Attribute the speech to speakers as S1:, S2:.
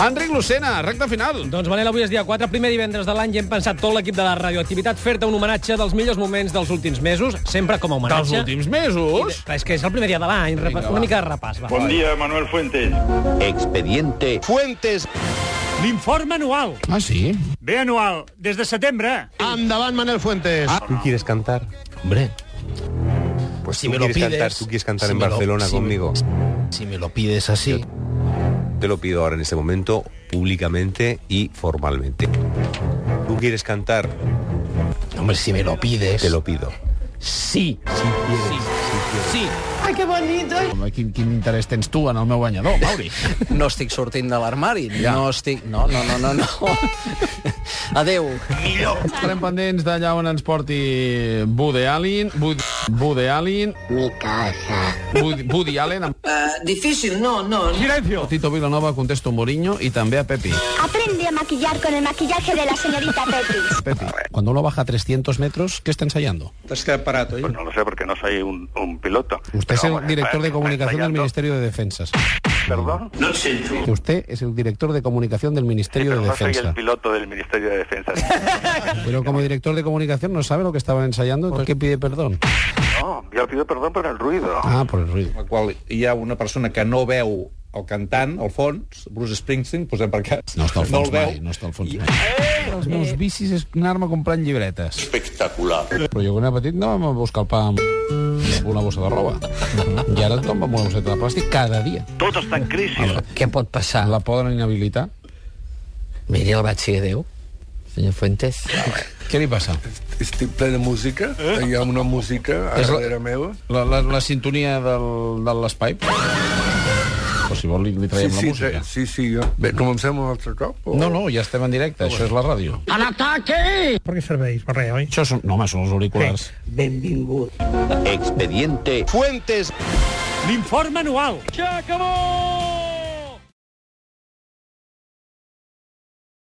S1: Enric Lucena, recta final.
S2: Doncs, Manel, avui és dia 4, primer divendres de l'any, i hem pensat tot l'equip de la radioactivitat fer-te un homenatge dels millors moments dels últims mesos, sempre com a
S1: Dels
S2: homenatge.
S1: últims mesos.
S2: Clar, és que és el primer dia de l'any, repa- una mica de repàs. Va.
S3: Bon dia, Manuel Fuentes.
S4: Expediente
S5: Fuentes.
S2: L'informe anual.
S1: Ah, sí?
S6: Ve anual, des de setembre.
S5: Endavant, Manuel Fuentes.
S4: ¿Tú quieres cantar?
S7: Hombre,
S4: Ah. Pues
S7: si
S4: tú
S7: me lo
S4: quieres
S7: pides...
S4: cantar, tú quieres cantar
S7: si
S4: en
S7: me lo-
S4: Barcelona
S7: si me-
S4: conmigo.
S7: Si me lo pides así...
S4: Te lo pido ahora en este momento, públicamente y formalmente. ¿Tú quieres cantar?
S7: Hombre, si me lo pides...
S4: Te lo pido.
S7: Sí. Sí.
S1: Home, quin, quin interès tens tu en el meu banyador, Mauri?
S8: No estic sortint de l'armari. Ja. No estic... No, no, no, no, no. Adeu.
S1: Estarem pendents d'allà on ens porti Woody Allen, Woody, Woody Allen... Mi casa. Woody, Woody Allen, amb
S9: difícil, Eh, no, no.
S2: Silencio.
S1: Tito Vilanova, contesto Mourinho i també a Pepi.
S10: Aprende a maquillar con el maquillaje de la señorita Pepis.
S1: Pepi. Cuando uno baja 300 metros, ¿qué está ensayando?
S3: Pues no lo sé porque no soy un, un piloto.
S1: Usted es
S3: Pero
S1: el
S3: vamos,
S1: director
S3: está-
S1: de
S3: está
S1: comunicación del
S3: ensayando.
S1: Ministerio de Defensas.
S3: Perdón. No siento.
S1: Que usted es el director de comunicación del Ministerio
S3: Pero
S1: de
S3: no soy el
S1: Defensa.
S3: piloto del Ministerio de Defensa.
S1: Pero como director de comunicación no sabe lo que estaban ensayando, entonces ¿qué pide perdón?
S3: No, yo pido perdón por el ruido.
S1: Ah, por el ruido.
S11: la qual hi ha una persona que no veu el cantant, al fons, Bruce Springsteen, posem per cas,
S1: No està al
S11: no
S1: fons
S11: el veu.
S1: mai, no està al fons mai.
S8: Eh,
S1: Els meus vicis és anar-me comprant llibretes. Espectacular. Però jo quan era petit anàvem a buscar el pa amb amb una bossa de roba. I ara tothom va amb una bosseta de plàstic cada dia.
S3: Todo está en crisis.
S8: Què pot passar?
S1: La poden inhabilitar.
S8: Miri el vaig ser Déu, senyor Fuentes.
S1: Què li passa?
S5: Estic ple de música. Hi ha una música a
S1: És la-
S5: darrere meu.
S1: La, la, la sintonia del, de l'espai? Però si vol li, li traiem la
S5: sí,
S1: música.
S5: sí, sí, jo. Bé, comencem un altre cop? O... Ah,
S1: No, no, ja estem en directe, això és la ràdio. A l'ataque! Per què serveix? Per res, oi? Això són, no, home, són els auriculars.
S4: Expediente
S5: Fuentes.
S2: L'informe anual. S'acabó!